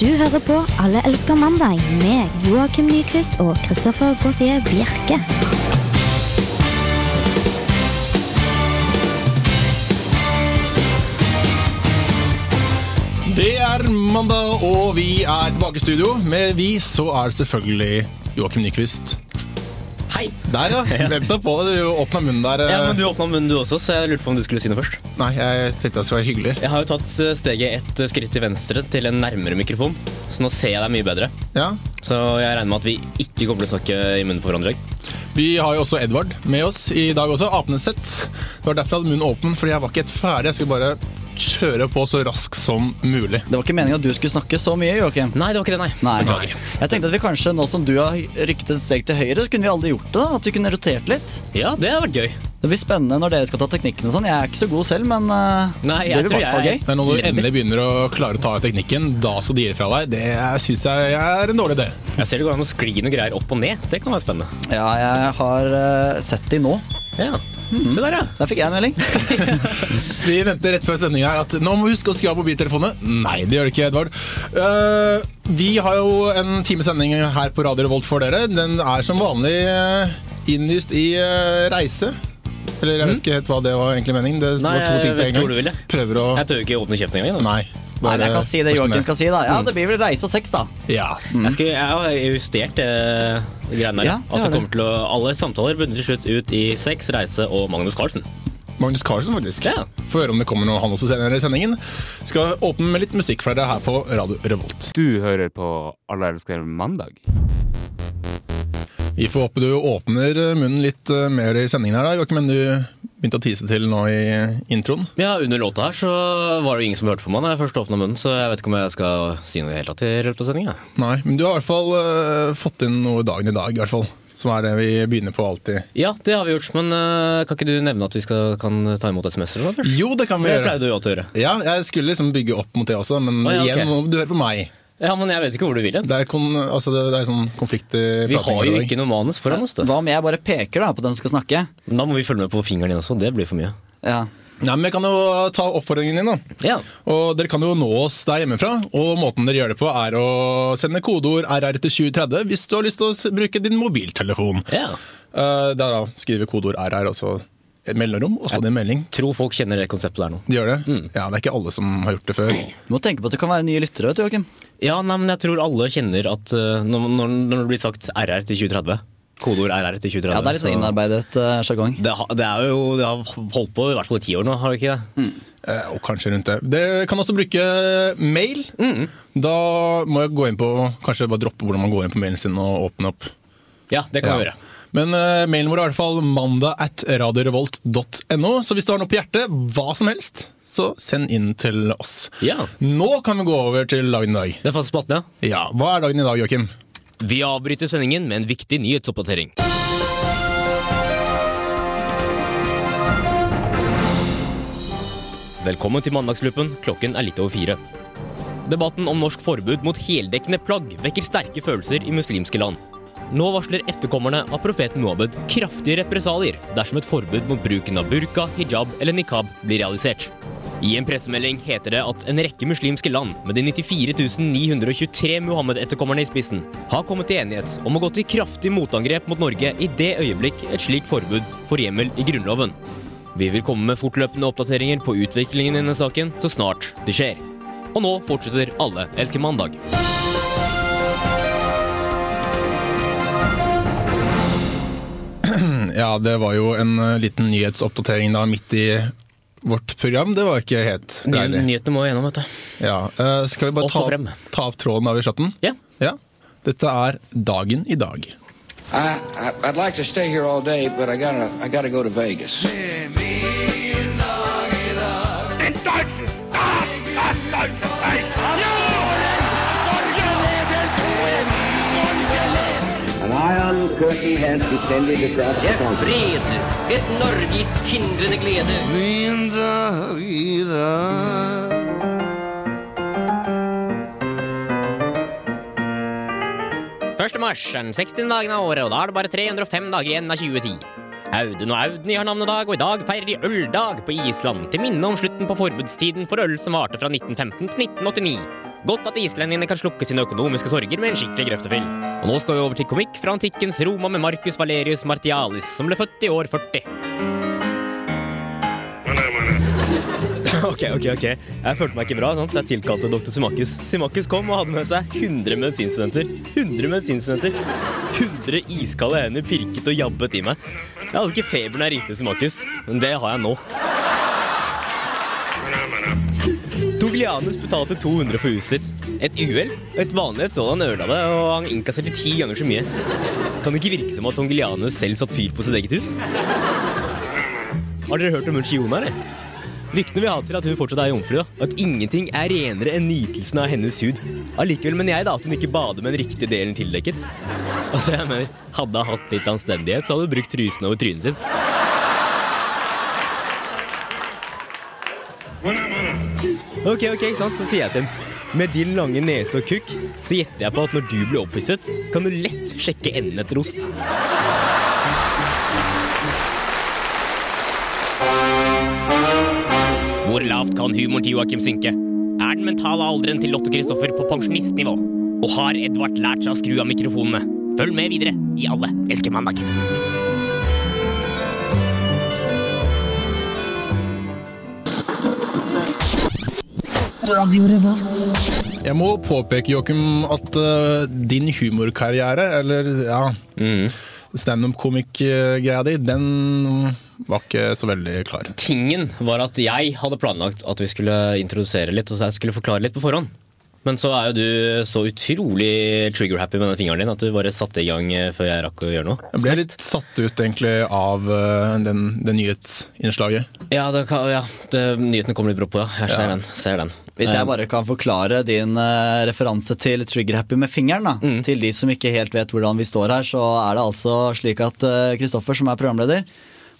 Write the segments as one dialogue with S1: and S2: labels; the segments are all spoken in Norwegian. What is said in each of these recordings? S1: Du hører på Alle elsker mandag med Joakim Nyquist og Christoffer Gautier Bjerke.
S2: Det er mandag, og vi er tilbake i studio. Med vi så er det selvfølgelig Joakim Nyquist.
S3: Hei!
S2: Der, ja. Vent deg på det. Du åpna munnen der. eh.
S3: Ja, men Du åpna munnen du også, så jeg lurte på om du skulle si noe først.
S2: Nei, jeg tenkte jeg skulle være hyggelig.
S3: Jeg har jo tatt eh, steget ett eh, skritt til venstre til en nærmere mikrofon, så nå ser jeg deg mye bedre.
S2: Ja.
S3: Så jeg regner med at vi ikke kommer til å snakke i munnen på hverandre.
S2: Vi har jo også Edvard med oss i dag også. Apenes sett. Det var derfor jeg hadde munnen åpen, fordi jeg var ikke helt ferdig. Jeg skulle bare kjøre på så raskt som mulig.
S4: Det var ikke meningen at du skulle snakke så mye, Joakim.
S3: Nei, det var ikke det, nei.
S4: Nei.
S3: Beklager.
S4: Jeg tenkte at vi kanskje, nå som du har rykket et steg til høyre, så kunne vi aldri gjort det. da, At vi kunne rotert litt.
S3: Ja, det hadde vært gøy.
S4: Det blir spennende når dere skal ta teknikken og sånn. Jeg er ikke så god selv, men eh,
S3: Nei, jeg
S4: det blir i
S3: tror
S4: hvert fall
S3: jeg-
S4: gøy.
S2: Men når du endelig begynner å klare å ta teknikken, da skal du gi det fra deg. Det syns jeg er en dårlig idé.
S3: Jeg ser det går an å skli noen greier opp og ned. Det kan være spennende.
S4: Ja, jeg har eh, sett de nå.
S3: Ja. Mm. Se der, ja.
S4: Der fikk jeg en melding.
S2: Vi nevnte rett før sendingen her at nå må vi huske å skru av mobiltelefonene. Nei, det gjør det ikke, Edvard. Eh, vi har jo en times sending her på Radio Revolt for dere. Den er som vanlig eh, innlyst i eh, reise. Eller jeg vet ikke helt hva det var egentlig meningen. Det
S3: Nei,
S2: var to
S3: jeg
S2: ting på
S3: vet
S2: en
S3: ikke
S2: gang.
S3: hvor du ville.
S2: Prøver å
S3: Jeg tør jo ikke åpne kjeften engang. da.
S2: Nei.
S4: Nei, men jeg kan si det Joakim skal si, da.
S3: Mm.
S4: Ja, det blir vel reise og sex, da.
S2: Ja.
S3: Jeg, skulle, jeg har justert eh, greiene der.
S4: Mm.
S3: Ja,
S4: Ja, det
S3: at
S4: har
S3: det
S4: du.
S3: kommer til å, Alle samtaler bunner til slutt ut i sex, reise og Magnus Carlsen.
S2: Magnus Carlsen, faktisk.
S3: Ja.
S2: Få høre om det kommer noe han også senere i sendingen. Skal åpne med litt musikk fra dere her på Radio Revolt.
S5: Du hører på Alle elsker mandag.
S2: Vi får håpe du åpner munnen litt eh, mer i sendingen her, da, Joakim. Men du begynte å tise til nå i introen.
S3: Ja, Under låta her så var det jo ingen som hørte på meg da jeg først åpna munnen, så jeg vet ikke om jeg skal si noe i det hele tatt i løpet av sendinga.
S2: Nei, men du har i hvert fall eh, fått inn noe i dagen i dag, i hvert fall. Som er det vi begynner på alltid.
S3: Ja, det har vi gjort, men øh, kan ikke du nevne at vi skal, kan ta imot SMS-er? eller noe, først?
S2: Jo, det kan vi
S3: Det
S2: gjøre.
S3: pleide du jo alltid å gjøre.
S2: Ja, jeg skulle liksom bygge opp mot det også, men
S3: Å, ja,
S2: igjen,
S3: ok.
S2: nå må du hører på meg.
S3: Ja, men jeg vet ikke hvor du vil hen.
S2: Det er, kon, altså, det, det er sånn konflikt i
S3: Vi
S2: prating
S3: har
S2: i
S3: jo
S2: dag.
S3: ikke noe manus foran oss. Da.
S4: Hva om jeg bare peker da på den som skal snakke?
S3: Men da må vi følge med på fingeren din også, det blir for mye.
S4: Ja.
S2: Nei, men jeg kan jo ta oppfordringen din, da.
S3: Ja,
S2: Og dere kan jo nå oss der hjemmefra, og måten dere gjør det på er å sende kodeord RR til 2030 hvis du har lyst til å s- bruke din mobiltelefon.
S3: ja.
S2: Eh, der da skriver vi kodeord RR, og så et mellomrom, og så din melding.
S3: Tror folk kjenner det konseptet der nå.
S2: De gjør det?
S3: Mm.
S2: Ja, det er ikke alle som har gjort det før.
S4: Du må tenke på at det kan være nye lyttere, vet du, Joakim.
S3: Ja, nei, men jeg tror alle kjenner at øh, når, når, når det blir sagt RR til 2030, kodeord RR til 2030
S4: Ja, det er litt sånn innarbeidet eh, sjargong.
S3: Det, har- det er jo Det har holdt på i hvert fall i ti år nå, har det ikke det?
S2: Eh, Og kanskje rundt det. Dere kan også bruke mail.
S3: Mm.
S2: Da må jeg gå inn på Kanskje bare droppe hvordan man går inn på mailen sin og åpne opp.
S3: Ja, det kan
S2: Ja.
S3: vi gjøre.
S2: Men eh, mailen vår er i hvert fall mandag at radiorevolt.no. Så hvis du har noe på hjertet, hva som helst, så send inn til oss.
S3: Ja.
S2: Nå kan vi gå over til dagen i dag.
S3: Det er faste spalten, ja.
S2: Ja, Hva er dagen i dag, Joakim?
S3: Vi avbryter sendingen med en viktig nyhetsoppdatering. Velkommen til Mandagslupen. Klokken er litt over fire. Debatten om norsk forbud mot heldekkende plagg vekker sterke følelser i muslimske land. Nå varsler etterkommerne av profeten Muhammed kraftige represalier dersom et forbud mot bruken av burka, hijab eller nikab blir realisert. I en pressemelding heter det at en rekke muslimske land med de 94 923 Muhammed-etterkommerne i spissen har kommet til enighet om å gå til kraftig motangrep mot Norge i det øyeblikk et slikt forbud får hjemmel i Grunnloven. Vi vil komme med fortløpende oppdateringer på utviklingen i denne saken så snart det skjer. Og nå fortsetter Alle elsker mandag.
S2: Ja, det var jo en eh, liten nyhetsoppdatering da midt i vårt program. Det var ikke helt greilig.
S3: nyhetene må gjennom, vet du.
S2: Ja, eh, Skal vi bare
S3: Opp og
S2: ta,
S3: frem.
S2: ta opp tråden da vi slapp den?
S3: Ja.
S2: Ja. Dette er Dagen i dag.
S6: I, I I'd like to stay here all day, but I gotta I gotta go to Vegas.
S7: An iron curtain has descended across the country.
S8: fred, et Norge i tindrende glede.
S3: Første mars er den 60. dagen av året, og da er det bare 305 dager igjen av 2010. Audun og Audny har navnedag, og i dag feirer de øldag på Island, til minne om slutten på forbudstiden for øl som varte fra 1915 til 1989. Godt at islendingene kan slukke sine økonomiske sorger med en skikkelig grøftefyll. Og nå skal vi over til komikk fra antikkens Roma med Marcus Valerius Martialis, som ble født i år 40. Ok, ok, ok. Jeg følte meg ikke bra, sant? så jeg tilkalte dr. Simakis. Simakis kom og hadde med seg 100 medisinstudenter. 100 medisinstudenter. 100 iskalde hender pirket og jabbet i meg. Jeg hadde ikke feber da jeg ringte Simakis, men det har jeg nå. Toglianes betalte 200 for huset sitt. Et uhell? Et vanlighet sådan ødela det, og han innkasserte ti ganger så mye. Kan det ikke virke som at Toglianes selv satte fyr på sitt eget hus? Har dere hørt om Munchiona, eller? Ryktene vil ha til at hun fortsatt er jomfru, og at ingenting er renere enn nytelsen av hennes hud. Allikevel mener jeg da at hun ikke bader med den riktige delen tildekket. Altså, jeg mener, hadde hun hatt litt anstendighet, så hadde hun brukt trusen over trynet sitt. Ok, ok, ikke sant? Så sier jeg til henne. Med din lange nese og kukk, så gjetter jeg på at når du blir opphisset, kan du lett sjekke enden etter ost. Hvor lavt kan humoren til Joakim synke? Er den mentale alderen til Lotte Kristoffer på pensjonistnivå? Og har Edvard lært seg å skru av mikrofonene? Følg med videre i Alle elsker mandag.
S2: Jeg må påpeke, Joakim, at eh, din humorkarriere, eller ja,
S3: Mm.
S2: standup-komikk-greia di, den var ikke så veldig klar.
S3: Tingen var at jeg hadde planlagt at vi skulle introdusere litt, og så jeg skulle forklare litt på forhånd. Men så er jo du så utrolig trigger-happy med den fingeren din at du bare satte i gang eh, før jeg rakk å gjøre noe.
S2: Jeg ble litt satt ut, egentlig, av eh, den, det nyhetsinnslaget.
S3: Ja, det, kan- ja det, nyheten kom litt brå på, ja. Jeg ser den. ser den.
S4: Hvis jeg bare kan forklare din eh, referanse til trigger-happy med fingeren, da,
S3: Mm.
S4: til de som ikke helt vet hvordan vi står her, så er det altså slik at eh, Kristoffer, som er programleder,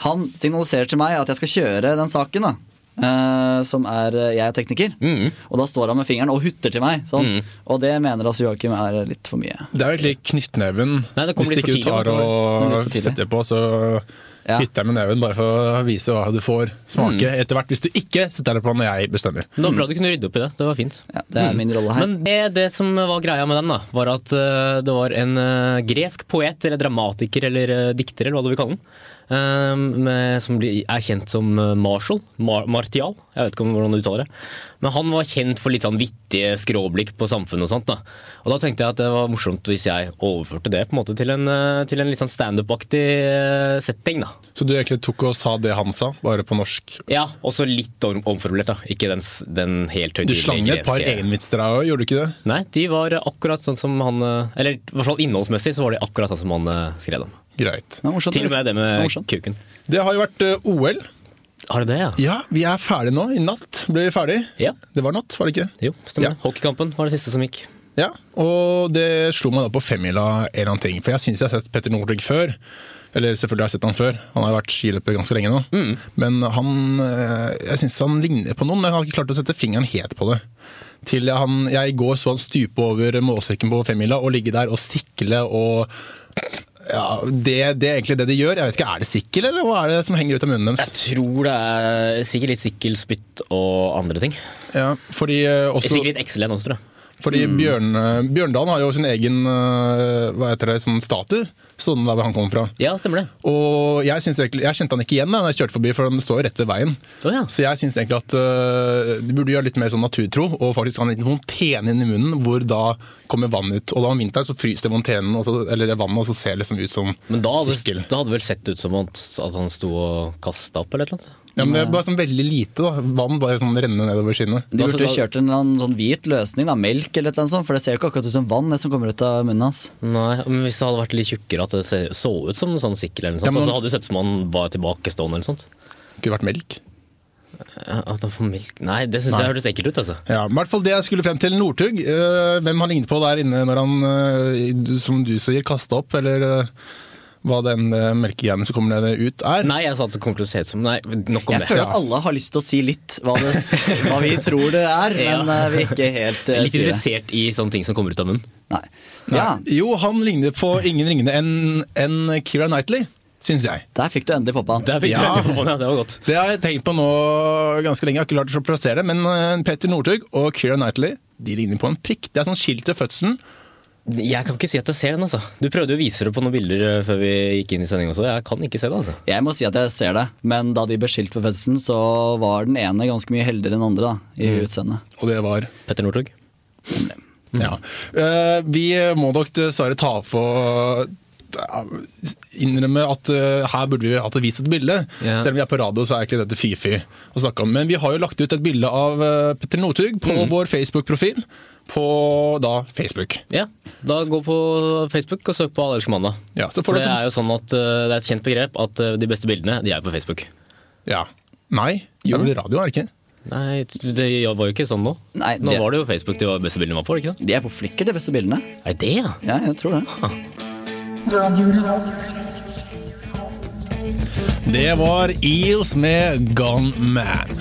S4: han signaliserer til meg at jeg skal kjøre den saken, da. eh, som er eh, Jeg er tekniker.
S3: Mm.
S4: Og da står han med fingeren og hutter til meg. Sånn. Og det mener altså Joakim er litt for mye.
S2: Det er jo egentlig knyttneven.
S3: Nei, det kommer
S2: Hvis
S3: litt
S2: ikke du
S3: for tidlig,
S2: tar
S3: da,
S4: kommer det. Litt
S2: og
S4: for tidlig.
S2: setter på, så
S4: Ja.
S2: hytter jeg med neven bare for å vise hva du får smake
S3: Mm.
S2: etter hvert. Hvis du ikke setter deg på når jeg bestemmer.
S3: Det var bra du kunne rydde opp i det. Det var fint.
S4: Ja, det er min rolle her.
S3: Men det, det som var greia med den, da, var at eh, det var en eh, gresk poet, eller dramatiker, eller eh, dikter, eller hva du vil kalle den, eh, med, som blir- er kjent som eh, Marshall. Mar Martial. Jeg vet ikke om hvordan du uttaler det. Men han var kjent for litt sånn vittige skråblikk på samfunnet og sånt. da. Og da tenkte jeg at det var morsomt hvis jeg overførte det på en måte til en, eh, til en litt sånn standup-aktig eh, setting. da.
S2: Så du egentlig tok og sa det han sa, bare på norsk?
S3: Ja, Også litt om- omformulert, da. Ikke den, s- den helt
S2: Du
S3: høytidelige
S2: slang et par
S3: greske-
S2: egenvitser der òg, gjorde du ikke det?
S3: Nei, de var akkurat sånn som han eh, Eller i hvert fall innholdsmessig så var de akkurat sånn som han eh, skrev dem.
S2: Greit.
S4: Det er morsomt.
S3: Til og med det
S4: Det er
S3: med
S4: morsomt.
S3: kuken.
S2: Det har jo vært eh, OL.
S3: Har du det, ja?
S2: Ja, vi er ferdige nå. I natt ble vi ferdig.
S3: Ja.
S2: Det var natt, var det ikke?
S3: Jo, stemmer.
S2: Ja.
S3: det. Hockeykampen var det siste som gikk.
S2: Ja, og det slo meg da på femmila en eller annen ting. For jeg syns jeg har sett Petter Northug før. Eller selvfølgelig har jeg sett han før. Han har jo vært skiløper ganske lenge nå. Men han, eh, jeg syns han ligner på noen, men jeg har ikke klart å sette fingeren helt på det. Til jeg- han, jeg i går så han stupe over målstreken på femmila og ligge der og sikle og ja, det, det er egentlig det de gjør. Jeg vet ikke, Er det sikkel, eller hva er det som henger ut av munnen deres?
S3: Jeg tror det er sikkert litt sikkelspytt og andre ting.
S2: Ja, fordi eh, også...
S3: Sikkert litt XLN også, tror jeg.
S2: Fordi Bjørn, eh, Bjørndalen har jo sin egen øh, hva heter det, sånn statue stående der hvor han kommer fra.
S3: Ja, stemmer det.
S2: Og jeg, synes egentlig, jeg kjente han ikke igjen da når jeg kjørte forbi, for han står jo rett ved veien.
S3: Å ja.
S2: Så jeg syns egentlig at øh, de burde gjøre litt mer sånn naturtro, og faktisk ha en liten fontene inn i munnen, hvor da kommer vann ut. Og da om vinteren så fryser det fontenen, og så- eller det vannet, og så ser det liksom ut som
S3: Men da hadde,
S2: sikkel.
S3: da hadde det vel sett ut som at, at han sto og kasta opp, eller et eller annet.
S2: Ja, men det er bare sånn veldig lite, da. Vann bare sånn renner nedover skinnet.
S4: De
S3: Altså,
S4: burde jo
S3: da-
S4: kjørt en eller annen sånn hvit løsning, da, melk eller noe sånt, for det ser jo ikke akkurat ut som vann, det som kommer ut av munnen hans.
S3: Nei, men Hvis det hadde vært litt tjukkere, at det se- så ut som en sånn sikkel, eller noe
S2: Ja,
S3: sånt,
S2: men-
S3: og så hadde det sett ut som han var tilbakestående. eller noe sånt.
S2: Kunne vært melk.
S3: Ja, At han får melk Nei, det syns jeg hørtes ekkelt ut. altså.
S2: Ja, men i hvert fall det jeg skulle frem til Northug. øh, hvem han lignet på der inne når han, øh, du- som du sier, kasta opp, eller øh, hva den øh, melkegreiene som kommer der ut, er.
S3: Nei, jeg sa at det kommer til å se ut som Nei, nok om
S4: Jeg
S3: det.
S4: føler at alle har lyst til å si litt hva, det, hva vi tror det er,
S3: Ja.
S4: men eh, vi er ikke helt
S3: Jeg
S4: eh,
S3: er litt
S4: sier det.
S3: interessert i sånne ting som kommer ut av munnen.
S4: Nei. Ja,
S2: Jo, han ligner på ingen ringende enn enn Keira Knightley, syns jeg.
S4: der fikk du endelig poppa han.
S3: Det, fikk
S2: Ja.
S3: jeg på, ja, det var godt.
S2: Det har jeg tenkt på nå ganske lenge, jeg har ikke klart å plassere det, men øh, Petter Northug eh, og Keira Knightley, de ligner på en prikk. Det er sånn skilt til fødselen.
S3: Jeg kan ikke si at jeg ser den, altså. Du prøvde jo å vise det på noen bilder eh, før vi gikk inn i sending også. Jeg kan ikke se det, altså.
S4: Jeg må si at jeg ser det, men da de ble skilt for fødselen, så var den ene ganske mye heldigere enn den andre da, i
S3: Mm.
S4: utseendet.
S2: Og det var
S3: Petter Northug.
S2: Ja. Eh, vi må nok dessverre ta for eh, innrømme at eh, her burde vi hatt vist et bilde.
S3: Ja.
S2: Selv om vi er på radio, så er ikke dette fy-fy å snakke om. Men vi har jo lagt ut et bilde av eh, Petter Northug på
S3: Mm.
S2: vår Facebook-profil på da Facebook.
S3: Ja, da gå på Facebook og søk på Allerske mandag.
S2: Ja, så får
S3: For
S2: du
S3: det
S2: til-
S3: er jo sånn at eh, det er et kjent begrep at eh, de beste bildene de er på Facebook.
S2: Ja. Nei, det er vel radio, er det ikke?
S3: Nei, det var jo ikke sånn nå.
S4: Nei,
S3: Nå
S4: det-
S3: var det jo Facebook de var- beste bildene var på, ikke sant?
S4: De er på flikker, de beste bildene.
S3: Er det det, ja?
S4: Ja, jeg tror det.
S2: Det var Eels med Gone Man.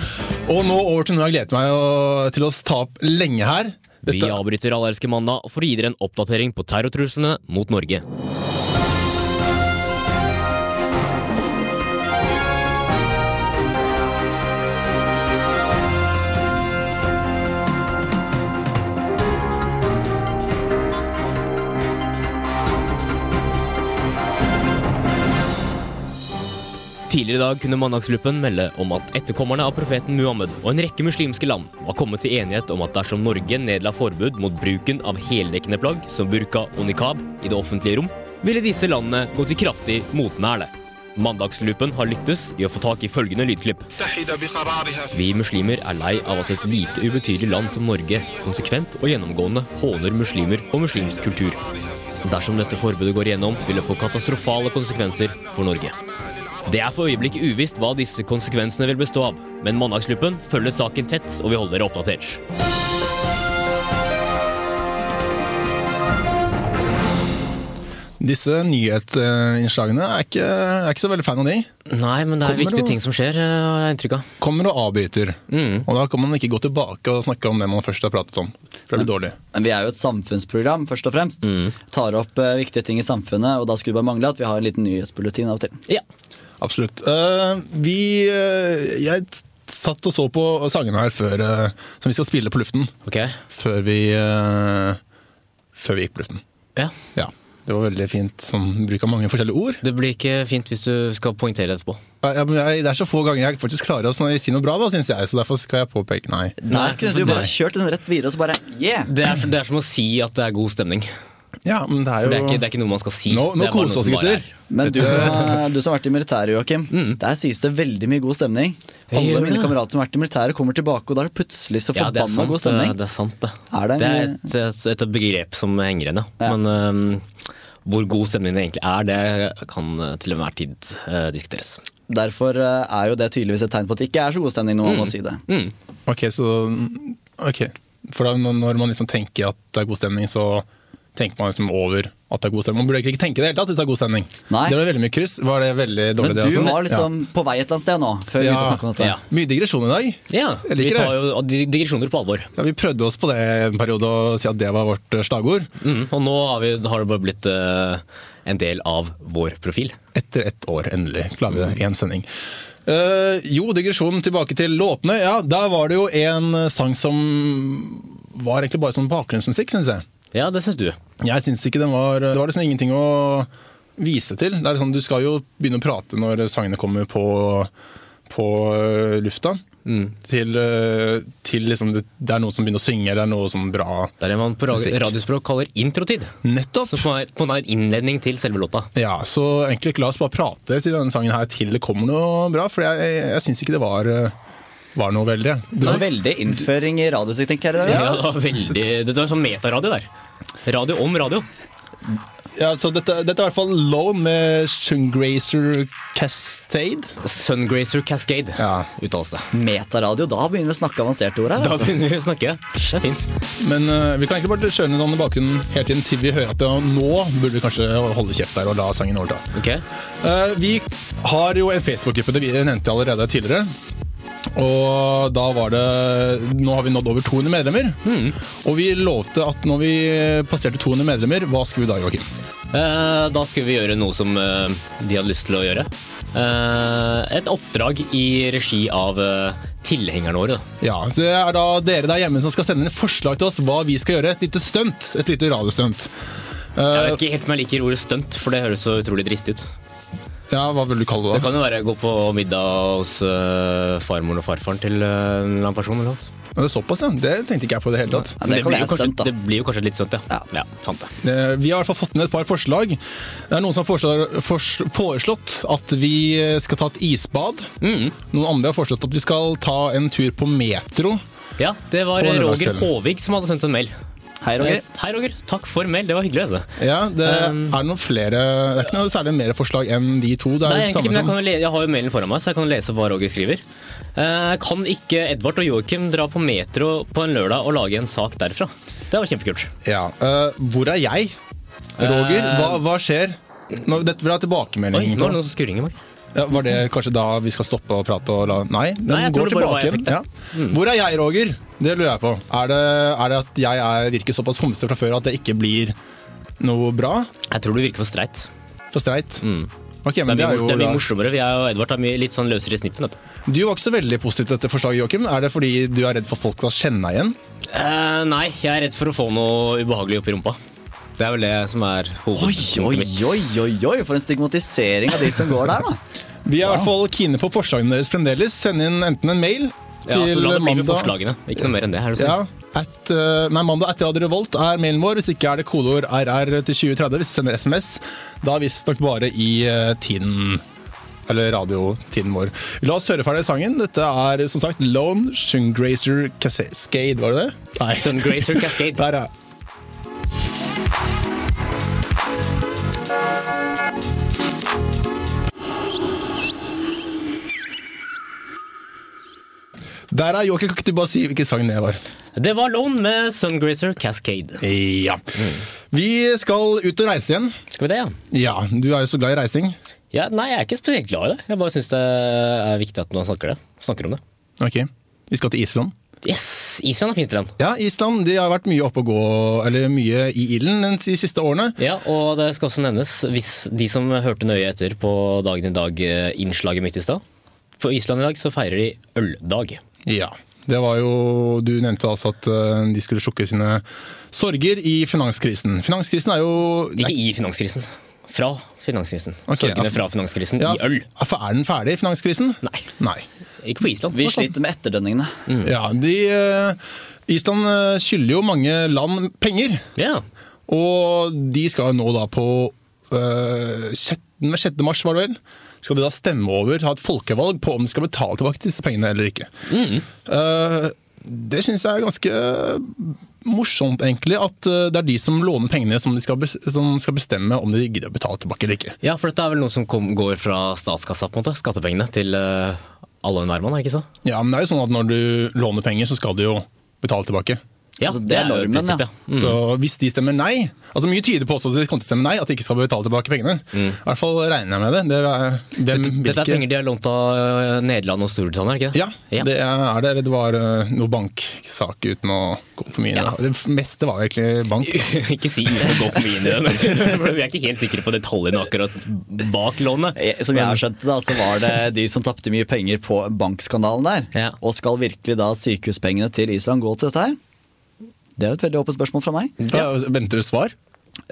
S2: Og nå over til noe jeg gleder meg å- til å ta opp lenge her.
S3: Vi avbryter Allerske mandag for å gi dere en oppdatering på terrortruslene mot Norge. Tidligere i dag kunne Mandagsluppen melde om at etterkommerne av profeten Muhammed og en rekke muslimske land var kommet til enighet om at dersom Norge nedla forbud mot bruken av heldekkende plagg som burka og nikab i det offentlige rom, ville disse landene gå til kraftig motmæle. Mandagslupen har lyktes i å få tak i følgende lydklipp. Vi muslimer er lei av at et lite ubetydelig land som Norge konsekvent og gjennomgående håner muslimer og muslimsk kultur. Dersom dette forbudet går igjennom, vil det få katastrofale konsekvenser for Norge. Det er for øyeblikket uvisst hva disse konsekvensene vil bestå av, men Mandagsgruppen følger saken tett, og vi holder dere oppdatert.
S2: Disse nyhetsinnslagene er ikke, jeg er ikke så veldig fan av de.
S3: Nei, men det
S2: Kommer viktige det- ting
S3: som skjer, eh, har jeg inntrykk av. Mm.
S2: Kommer og avbryter. Og da kan man ikke gå tilbake og snakke om det man først har pratet om. For det blir dårlig.
S4: Men vi er jo et samfunnsprogram, først og fremst.
S3: Mm.
S4: Tar opp eh, viktige ting i samfunnet, og da skulle det bare mangle at vi har en liten nyhetsbulletin av og til.
S3: Ja.
S2: Absolutt. Eh, vi eh, Jeg t- satt og så på sangene her før, eh, som vi skal spille på luften.
S3: Ok.
S2: Før vi eh, Før vi gikk på luften.
S3: Ja.
S2: Ja. Det var veldig fint sånn, bruk av mange forskjellige ord.
S3: Det blir ikke fint hvis du skal poengtere etterpå.
S2: Nei, ja, men jeg, det er så få ganger jeg faktisk klarer å sn- si noe bra, da, syns jeg. Så derfor skal jeg påpeke Nei.
S4: Nei, kunne
S3: for
S4: du bare
S3: det-
S4: kjørt den rett videre og så bare yeah!
S3: Det er, det er som å si at det er god stemning.
S2: Ja, men det er jo
S3: Det er ikke, det er ikke noe man skal si.
S2: Nå,
S3: Det
S2: nå
S3: er bare noe
S2: koser vi oss,
S3: som bare
S2: gutter.
S3: er.
S4: Men du som, har- du som har vært i militæret, Joakim. Der sies det veldig mye god stemning. Alle
S3: Mm. gjør
S4: mine
S3: det.
S4: kamerater som har vært i militæret, kommer tilbake, og da er det plutselig så
S3: Ja, det er
S4: forbanna
S3: sant, eh,
S4: god stemning.
S3: det- Det er sant, det.
S4: Er det-
S3: det er et, et, et begrep som henger igjen, ja.
S4: Ja.
S3: Men øhm, hvor god stemning det egentlig er, det kan øh, til enhver tid øh, diskuteres.
S4: Derfor eh, er jo det tydeligvis et tegn på at det ikke er så god stemning når man må
S3: Mm.
S4: si det.
S2: Ok, så Ok. For da, når- når man liksom tenker at det er god stemning, så tenker man liksom over at det er god stemning. Man burde egentlig ikke tenke det hele tatt hvis det er god stemning.
S4: Nei.
S2: Det var veldig mye kryss. Var det veldig dårlig
S4: Men
S2: det?
S4: du
S2: også?
S4: var liksom på vei et eller annet sted nå, før vi
S2: Ja.
S4: begynte å snakke om dette.
S2: ja. Mye digresjon i dag.
S3: Ja,
S2: Jeg
S3: vi
S2: liker
S3: tar
S2: det.
S3: jo di- digresjoner på alvor.
S2: Ja, vi prøvde oss på det en periode og si at det var vårt eh, slagord.
S3: Mm, og nå har, vi, har det bare blitt eh, en del av vår profil.
S2: Etter ett år, endelig, klarer vi det. Én sending. Eh, jo, digresjonen tilbake til låtene. Ja, der var det jo en eh, sang som var egentlig bare sånn bakgrunnsmusikk, syns jeg.
S3: Ja, det syns du.
S2: Jeg syns ikke den var Det var liksom ingenting å vise til. Det er sånn, du skal jo begynne å prate når sangene kommer på, på øh, lufta. Til, øh, til liksom det, det er noen som begynner å synge, eller det er noe sånn bra
S3: Det er det man på ra-
S2: Musikk.
S3: radiospråk kaller introtid.
S2: Nettopp!
S3: Som er, på en måte er innledning til selve låta.
S2: Ja, så egentlig la oss bare prate til denne sangen her til det kommer noe bra, for jeg, jeg, jeg syns ikke det var, øh, var noe veldig.
S4: Det
S2: Det
S4: var
S2: var,
S4: veldig innføring i radiomusikk, tenker jeg. i
S3: Ja,
S4: dag.
S3: det var veldig Det var sånn metaradio der. Radio om radio.
S2: ja, så dette, dette er i hvert fall Lone med Sungrazer Cascade.
S3: Sungrazer Cascade
S2: Ja.
S3: uttales det.
S4: Metaradio, da begynner vi å snakke avanserte ord her.
S3: Da
S4: Altså.
S3: begynner vi å snakke. Det er fint.
S2: Men eh, vi kan egentlig bare kjøre ned den i bakgrunnen hele tiden til vi hører at det, nå burde vi kanskje holde kjeft der og la sangen overta.
S3: Ok.
S2: Eh, vi har jo en Facebook-gruppe, det vi nevnte allerede tidligere. Og da var det Nå har vi nådd over 200
S3: Mm.
S2: medlemmer. Og vi lovte at når vi passerte 200 medlemmer, hva skulle vi da, Joakim?
S3: Eh, da skulle vi gjøre noe som eh, de hadde lyst til å gjøre. Eh, et oppdrag i regi av eh, tilhengerne våre. Da.
S2: Ja, så det er da dere der hjemme som skal sende inn forslag til oss hva vi skal gjøre. Et lite stunt. Et lite radiostunt.
S3: Jeg
S2: Eh,
S3: vet ikke helt om jeg liker ordet stunt, for det høres så utrolig dristig ut.
S2: ja, hva vil du kalle
S3: Det
S2: det? da?
S3: kan jo være gå på middag hos eh, farmoren og farfaren til eh, en eller annen person. Eller noe.
S2: Det er såpass, ja. Det tenkte ikke jeg på i det hele tatt.
S4: Ja, det kan
S3: blir jo
S4: være
S3: kanskje,
S4: stunt, da.
S3: det blir jo kanskje litt stunt, ja.
S4: Ja.
S3: ja sant det.
S2: Eh, Vi har i hvert fall fått ned et par forslag. Det er noen som har foreslår- fors- foreslått at vi skal ta et isbad.
S3: Mm.
S2: Noen andre har foreslått at vi skal ta en tur på metro.
S3: Ja, det var eh,
S2: På
S3: Roger
S2: lørdagskvelden.
S3: Håvig som hadde sendt en mail.
S4: Hei, Roger.
S3: Eh, Hei, Roger. Takk for mail. Det var hyggelig. Altså.
S2: Ja, Det
S3: Um.
S2: er noen flere Det er ikke noe særlig mer forslag enn de to. Det er
S3: Nei,
S2: det
S3: egentlig,
S2: samme
S3: men jeg,
S2: som
S3: kan jo le jeg har jo mailen foran meg, så jeg kan lese hva Roger skriver. Eh, kan ikke Edvard og Joakim dra på Metro på en lørdag og lage en sak derfra? Det var kjempekult.
S2: ja. eh, Hvor er jeg? Roger, hva, hva skjer? Nå, dette vil jeg ha
S3: Um. Oi,
S2: tilbakemelding.
S3: nå er det noen som skurrer i meg.
S2: Ja, var det kanskje da vi skal stoppe å prate og la Nei, den
S3: Nei, jeg tror
S2: går
S3: det bare
S2: tilbake
S3: var jeg
S2: igjen.
S3: fikk det.
S2: Ja. Hvor er jeg, Roger? Det lurer jeg på. Er det, er det at jeg er, virker såpass homsete fra før at det ikke blir noe bra?
S3: Jeg tror du virker for streit.
S2: For streit? Ok,
S3: Det
S2: men
S3: er
S2: det er
S3: mye, mor-
S2: jo
S3: det er mye
S2: da-
S3: morsommere. Vi er og Edvard er mye, litt sånn løsere i snippen. vet du.
S2: Du var ikke så veldig positiv til dette forslaget, Joakim. Er det fordi du er redd for folk skal kjenne deg igjen?
S3: Eh, nei, jeg er redd for å få noe ubehagelig oppi rumpa. Det er vel det som er
S4: Oi, oi,
S3: hovedpunktet mitt.
S4: oi, oi, oi, for en stigmatisering av de som går der, da.
S2: Vi er i hvert fall kine på forslagene deres fremdeles. Send inn enten en mail
S3: Ja,
S2: til
S3: så la det bli med
S2: mandag
S3: forslagene. Ikke noe mer enn det. er det sånn?
S2: Ja, at, eh, nei, mandag etter Radio Revolt er mailen vår. Hvis ikke er det kodeord RR til 2030 hvis du sender SMS. Da visstnok bare i eh, tiden eller radiotiden vår. La oss høre ferdig sangen. Dette er som sagt Lone Sungrazer Cascade, var det det? Nei.
S3: Sungrazer Cascade.
S2: Der, ja. Der er Joakim. Kan ikke du bare si hvilken sang det var?
S3: Det var Lone med Sungrazer Cascade.
S2: Ja. Vi skal ut og reise igjen.
S3: Skal vi det, ja?
S2: Ja, du er jo så glad i reising.
S3: Ja, nei, jeg er ikke spesielt glad i det. Jeg bare syns det er viktig at man snakker, det. snakker om det.
S2: Ok, Vi skal til Island.
S3: Yes! Island er fint land.
S2: Ja, Island de har vært mye oppe og gå, eller mye i ilden den- de siste årene.
S3: Ja, og det skal også nevnes, hvis de som hørte nøye etter på Dagen i dag-innslaget mitt i stad På Island i dag så feirer de øldag.
S2: Ja. Det var jo, Du nevnte altså at eh, de skulle slukke sine sorger i finanskrisen. Finanskrisen er jo
S3: Ikke i finanskrisen. Fra finanskrisen.
S2: Ok, ja.
S3: Sorgene fra finanskrisen
S2: ja,
S3: i øl.
S2: ja, For er den ferdig, finanskrisen?
S3: Nei,
S2: Nei.
S3: ikke på Island.
S4: Vi
S3: På Island.
S4: sliter med etterdønningene.
S2: Ja, de, eh, Island eh, skylder jo mange land penger.
S3: Ja.
S2: Og de skal jo nå da på øh, 6. 6. mars, var det vel? Skal de da stemme over, ha et folkevalg på om de skal betale tilbake disse pengene eller ikke.
S3: Mm.
S2: Eh, det syns jeg er ganske eh, morsomt, egentlig. At eh, det er de som låner pengene, som, de skal, bes- som skal bestemme om de gidder å betale tilbake eller ikke.
S3: ja, for dette er vel noe som kom, går fra statskassa, på en måte. Skattepengene til eh, alle og enhver mann, er det ikke så?
S2: Ja, Men det er jo sånn at når du låner penger, så skal du jo betale tilbake.
S3: Ja,
S4: Altså, det
S3: det
S4: er
S3: er jo
S4: normen, ja.
S3: prinsippet. ja.
S2: Så hvis de stemmer nei altså Mye tyder på også at de kommer til å stemme nei, at de ikke skal betale tilbake pengene. I hvert fall regner jeg med det. det er, hvem vil
S3: Mm. Dette er
S2: ikke-
S3: penger de har lånt av eh, Nederland og Storbritannia, er det ikke
S2: Ja,
S3: det?
S2: det er det. Eller det var eh, noe banksak uten å gå for mye inn i
S3: Ja.
S2: det. Det meste var egentlig bank.
S3: ikke si uten å gå for mye inn i det, men- for vi er ikke helt sikre på detaljene akkurat bak lånet.
S4: Eh, Som jeg har skjønt det, da, så var det de som tapte mye penger på bankskandalen der.
S3: Ja.
S4: Og skal virkelig da sykehuspengene til Island gå til dette her? Det er jo et veldig åpent spørsmål fra meg.
S2: Ja, venter du svar?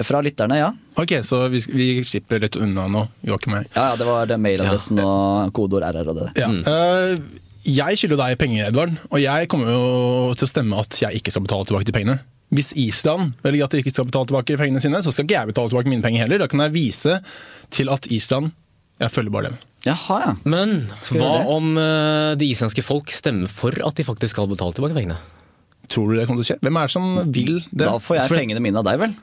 S4: Fra lytterne, ja.
S2: Ok, så vi, vi slipper litt unna nå, Joakim. og jeg.
S4: Ja, ja, det var det mailadressen og kodeord RR og det der.
S2: Ja. eh, jeg skylder deg penger, Edvard, og jeg kommer jo til å stemme at jeg ikke skal betale tilbake de pengene. Hvis Island velger at de ikke skal betale tilbake pengene sine, så skal ikke jeg betale tilbake mine penger heller. Da kan jeg vise til at Island Jeg følger bare dem.
S4: Jaha, ja.
S3: Men hva
S4: vi gjøre det?
S3: om eh, det islandske folk stemmer for at de faktisk skal betale tilbake pengene?
S2: Tror du det kommer til å skje? Hvem er det som vil det?
S4: Da får jeg
S3: For-
S4: pengene mine av deg, vel?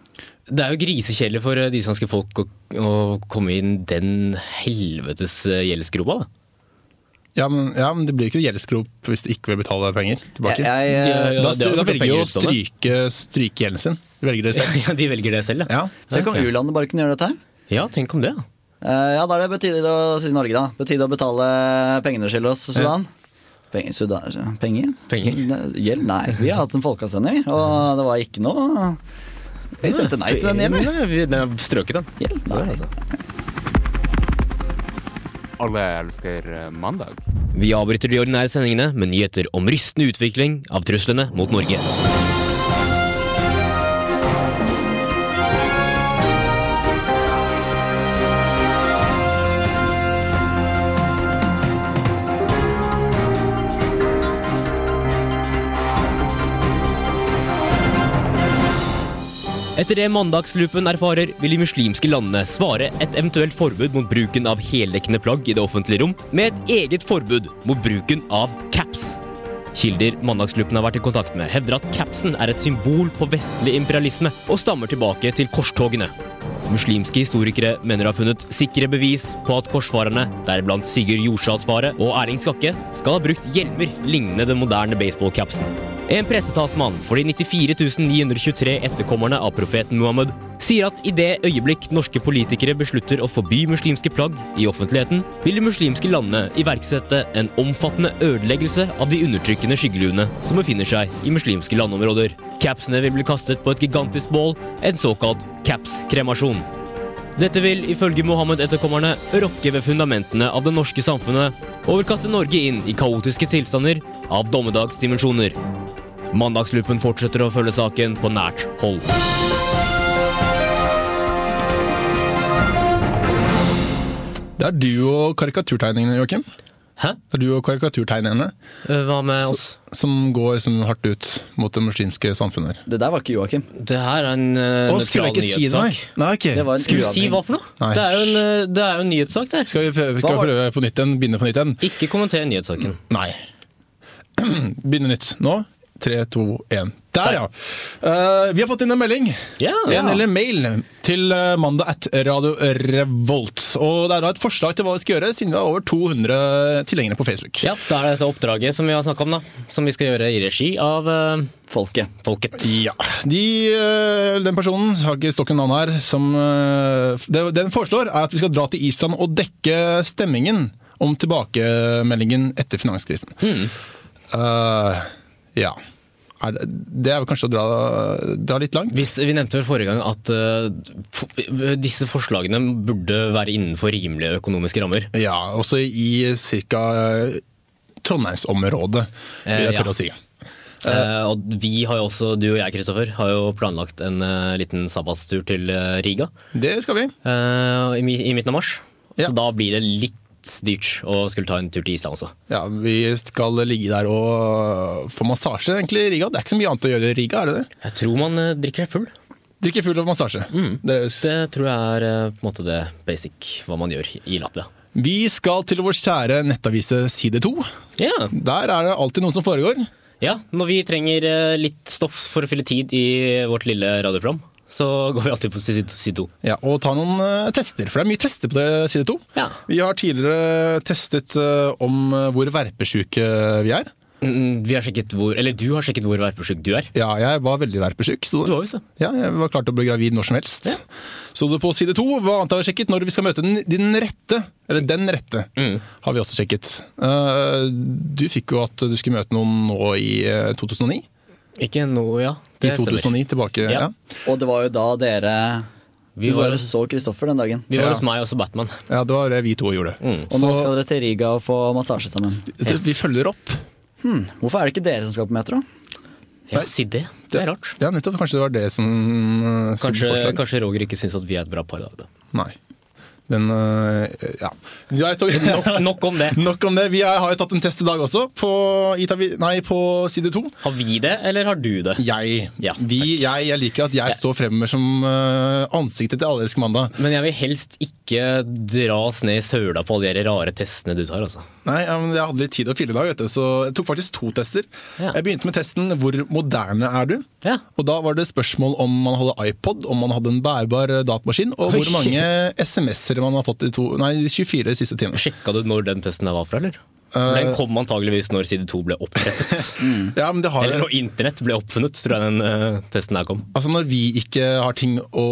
S3: Det er jo grisekjedelig for eh, det islandske folk å, å komme inn den helvetes eh, gjeldsgropa. da.
S2: Ja, men, ja, men det blir jo ikke gjeldsgrop hvis de ikke vil betale penger tilbake.
S4: Jeg, jeg,
S3: Ja,
S2: da
S3: det har
S2: stu- da
S3: vært
S2: velger jo å
S3: pengeutstående.
S2: stryke, stryke gjelden sin. De velger det selv.
S3: Ja, de velger det selv, ja.
S2: Ja.
S4: tenk om
S3: ok.
S4: u-landet bare kunne gjøre dette her.
S3: Ja, tenk om det. ja.
S4: Eh, ja, da er det på tide å si Norge, da. På tide å betale pengene til oss, Sudan. Penger? Sudan penger?
S3: Penger.
S4: Ne- Gjeld? Nei. Vi har hatt en folkeavstemning, og det var ikke noe Jeg stemte nei til den gjelden.
S3: Nei, vi- Den er strøket, den.
S4: Gjeld?
S3: altså.
S4: Nei.
S5: Alle elsker eh, mandag.
S3: Vi avbryter de ordinære sendingene med nyheter om rystende utvikling av truslene mot Norge. Etter det mandagsloopen erfarer, vil de muslimske landene svare et eventuelt forbud mot bruken av heldekkende plagg i det offentlige rom med et eget forbud mot bruken av caps. Kilder mandagsloopen har vært i kontakt med, hevder at capsen er et symbol på vestlig imperialisme og stammer tilbake til korstogene. Muslimske historikere mener de har funnet sikre bevis på at korsfarerne, deriblant Sigurd Jorsalsfare og Erling Skakke, skal ha brukt hjelmer lignende den moderne baseballcapsen. En pressetalsmann for de 94 923 etterkommerne av profeten Muhammed sier at i det øyeblikk norske politikere beslutter å forby muslimske plagg i offentligheten, vil de muslimske landene iverksette en omfattende ødeleggelse av de undertrykkende skyggeluene som befinner seg i muslimske landområder. Capsene vil bli kastet på et gigantisk bål, en såkalt caps-kremasjon. Dette vil ifølge Mohammed-etterkommerne rokke ved fundamentene av det norske samfunnet og vil kaste Norge inn i kaotiske tilstander av dommedagsdimensjoner. Mandagslupen fortsetter å følge saken på nært hold.
S2: Det er du og karikaturtegningene, Joakim.
S3: Hæ?
S2: Det er du og karikaturtegnerne
S3: Hva med oss?
S2: som går sånn hardt ut mot det muslimske samfunnet. her.
S4: Det der var ikke Joakim.
S3: Det her er en uh,
S2: Å, skulle jeg ikke si det, nei? Nei, ok.
S4: Det var en
S3: Skulle du si
S4: uavhengig-
S3: hva for noe?
S2: Nei.
S3: Det er jo en, eh, det er jo en nyhetssak, det. her.
S2: Skal vi prøve, skal
S4: Hva
S2: vi
S4: var det?
S2: prøve på nytt igjen? Begynne på nytt igjen?
S3: Ikke kommenter nyhetssaken.
S2: Nei. Begynne nytt nå. Tre, to, én. Der, ja! Eh, vi har fått inn en melding.
S3: Ja,
S2: En eller mail til eh, mandag at Radio Revolt. Og det er da et forslag til hva vi skal gjøre, siden vi har over 200 tilhengere på Facebook.
S3: ja, da er det dette oppdraget som vi har snakka om, da. Som vi skal gjøre i regi av eh,
S4: Folket.
S3: folket.
S2: Ja. De, øh, den personen, jeg har ikke stokken navn her, som øh, det- den foreslår er at vi skal dra til Island og dekke stemmingen om tilbakemeldingen etter finanskrisen.
S3: Hmm.
S2: Eh, ja. Er det, det er vel kanskje å dra, dra litt langt?
S3: Hvis, vi nevnte vel forrige gang at eh, for, disse forslagene burde være innenfor rimelige økonomiske rammer.
S2: Ja, også i ca. Trondheimsområdet, vil
S3: Eh,
S2: jeg
S3: ja.
S2: tørre å si.
S3: Eh, og vi har jo også, du og jeg, Kristoffer, har jo planlagt en eh, liten sabbatstur til eh, Riga
S2: Det skal vi.
S3: eh, i, mi- i midten av mars.
S2: Ja.
S3: Så da blir det litt dyrt å skulle ta en tur til Island også.
S2: Ja, Vi skal ligge der og få massasje, egentlig, i Riga. Det er ikke så mye annet å gjøre i Riga, er det det?
S3: Jeg tror man eh, drikker seg full.
S2: Drikke full av massasje. Det,
S3: Mm. Det tror jeg er eh, på en måte det basic hva man gjør i Latvia.
S2: vi skal til vår kjære nettavise Side 2.
S3: Ja,
S2: Der er det alltid noe som foregår.
S3: ja når vi trenger eh, litt stoff for å fylle tid i vårt lille radioprogram, så går vi alltid på side side to.
S2: Ja, og ta noen eh, tester, for det er mye tester på det Side 2.
S3: Ja.
S2: Vi har tidligere testet eh, om eh, hvor verpesjuke vi er.
S3: Mm, Vi har sjekket hvor, eller du har sjekket hvor verpesjuk du er.
S2: Ja, jeg var veldig verpesjuk, sto
S3: Du
S2: det.
S3: har visst det.
S2: Ja, jeg var klar til å bli gravid når som helst. Så det på side 2, hva annet har vi sjekket? Når vi skal møte den, din rette, eller den rette,
S3: Mm.
S2: har vi også sjekket. Eh, du fikk jo at du skulle møte noen nå i eh, 2009.
S3: Ikke nå, ja.
S2: I 2009 tilbake,
S3: Ja.
S2: ja.
S4: Og det var jo da dere
S3: Vi
S4: Vi
S3: var,
S4: bare så Kristoffer den dagen.
S3: vi var
S2: Ja.
S3: hos meg og også Batman.
S2: Ja, det var det vi to gjorde.
S3: Mm.
S4: Og nå
S2: Så-
S4: skal dere til Riga og få massasje sammen.
S2: Det- Vi følger opp.
S4: Hvorfor er det ikke dere som skal på metro?
S3: Ja, si det. Det er rart.
S2: Ja, nettopp. Kanskje det var det som øh, skulle
S3: Kanskje,
S2: bli forslaget.
S3: kanskje Roger ikke syns at vi er et bra par i dag, da.
S2: Nei. Den øh, Ja. Jeg tar- nok,
S3: Nok om det.
S2: nok om det. Vi er, har jo tatt en test i dag også, på, Itavi- nei, på side to.
S3: Har vi det, eller har du det?
S2: Jeg,
S3: Ja,
S2: vi, jeg, jeg liker at jeg står fremover som øh, ansiktet til Allelske mandag.
S3: Men jeg vil helst ikke dras ned i søla på alle de rare testene du tar, altså.
S2: Nei, ja, men Jeg hadde litt tid å fylle i dag, vet du, så jeg tok faktisk to tester.
S3: Ja.
S2: Jeg begynte med testen 'Hvor moderne er du?'
S3: Ja.
S2: Og Da var det spørsmål om man hadde iPod, om man hadde en bærbar eh, datamaskin, og hvor
S3: Oi.
S2: mange SMS-er man har fått i to, nei, 24 siste timene.
S3: Sjekka du når den testen der var fra, eller?
S2: Eh,
S3: Den kom antageligvis når side 2 ble opprettet.
S4: Mm.
S2: ja, men det har
S3: Eller når internett ble oppfunnet, tror jeg den eh, testen her kom.
S2: Altså Når vi ikke har ting å,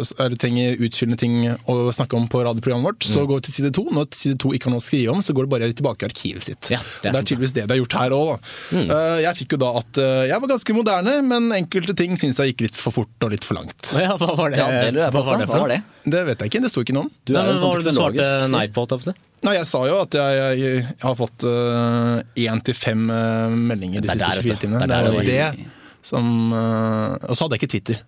S2: eller trenger utfyllende ting å snakke om på radioprogrammet vårt,
S3: Mm.
S2: så går vi til side to. Når side to ikke har noe å skrive om, så går det bare tilbake i arkivet sitt.
S3: Ja,
S2: Og det er,
S3: det er sant, Mm. det.
S2: tydeligvis det de har gjort her òg. Jeg fikk jo da at eh, jeg var ganske moderne, men enkelte ting syns jeg gikk litt for fort og litt for langt.
S3: Ja, hva var det,
S4: Ja, det lurer jeg
S3: Eh, hva var
S4: på. også.
S3: det
S4: Hva
S3: for
S4: var
S3: noe?
S4: det?
S2: Det vet jeg ikke, det sto ikke noe om.
S4: Du
S3: Nei,
S4: er
S3: men
S4: jo en
S3: hva
S4: sånn
S3: var det du svarte
S4: teknologisk
S3: nei
S4: fyr.
S3: på? holdt jeg på å si?
S2: Nei, Jeg sa jo at jeg, jeg, jeg har fått én til fem eh, meldinger de
S3: Det er
S2: siste
S3: der,
S2: 24
S3: vet du.
S2: timene.
S3: Det er
S2: Det
S3: der
S2: er jo
S3: det
S2: det som eh, Og så hadde jeg ikke Twitter.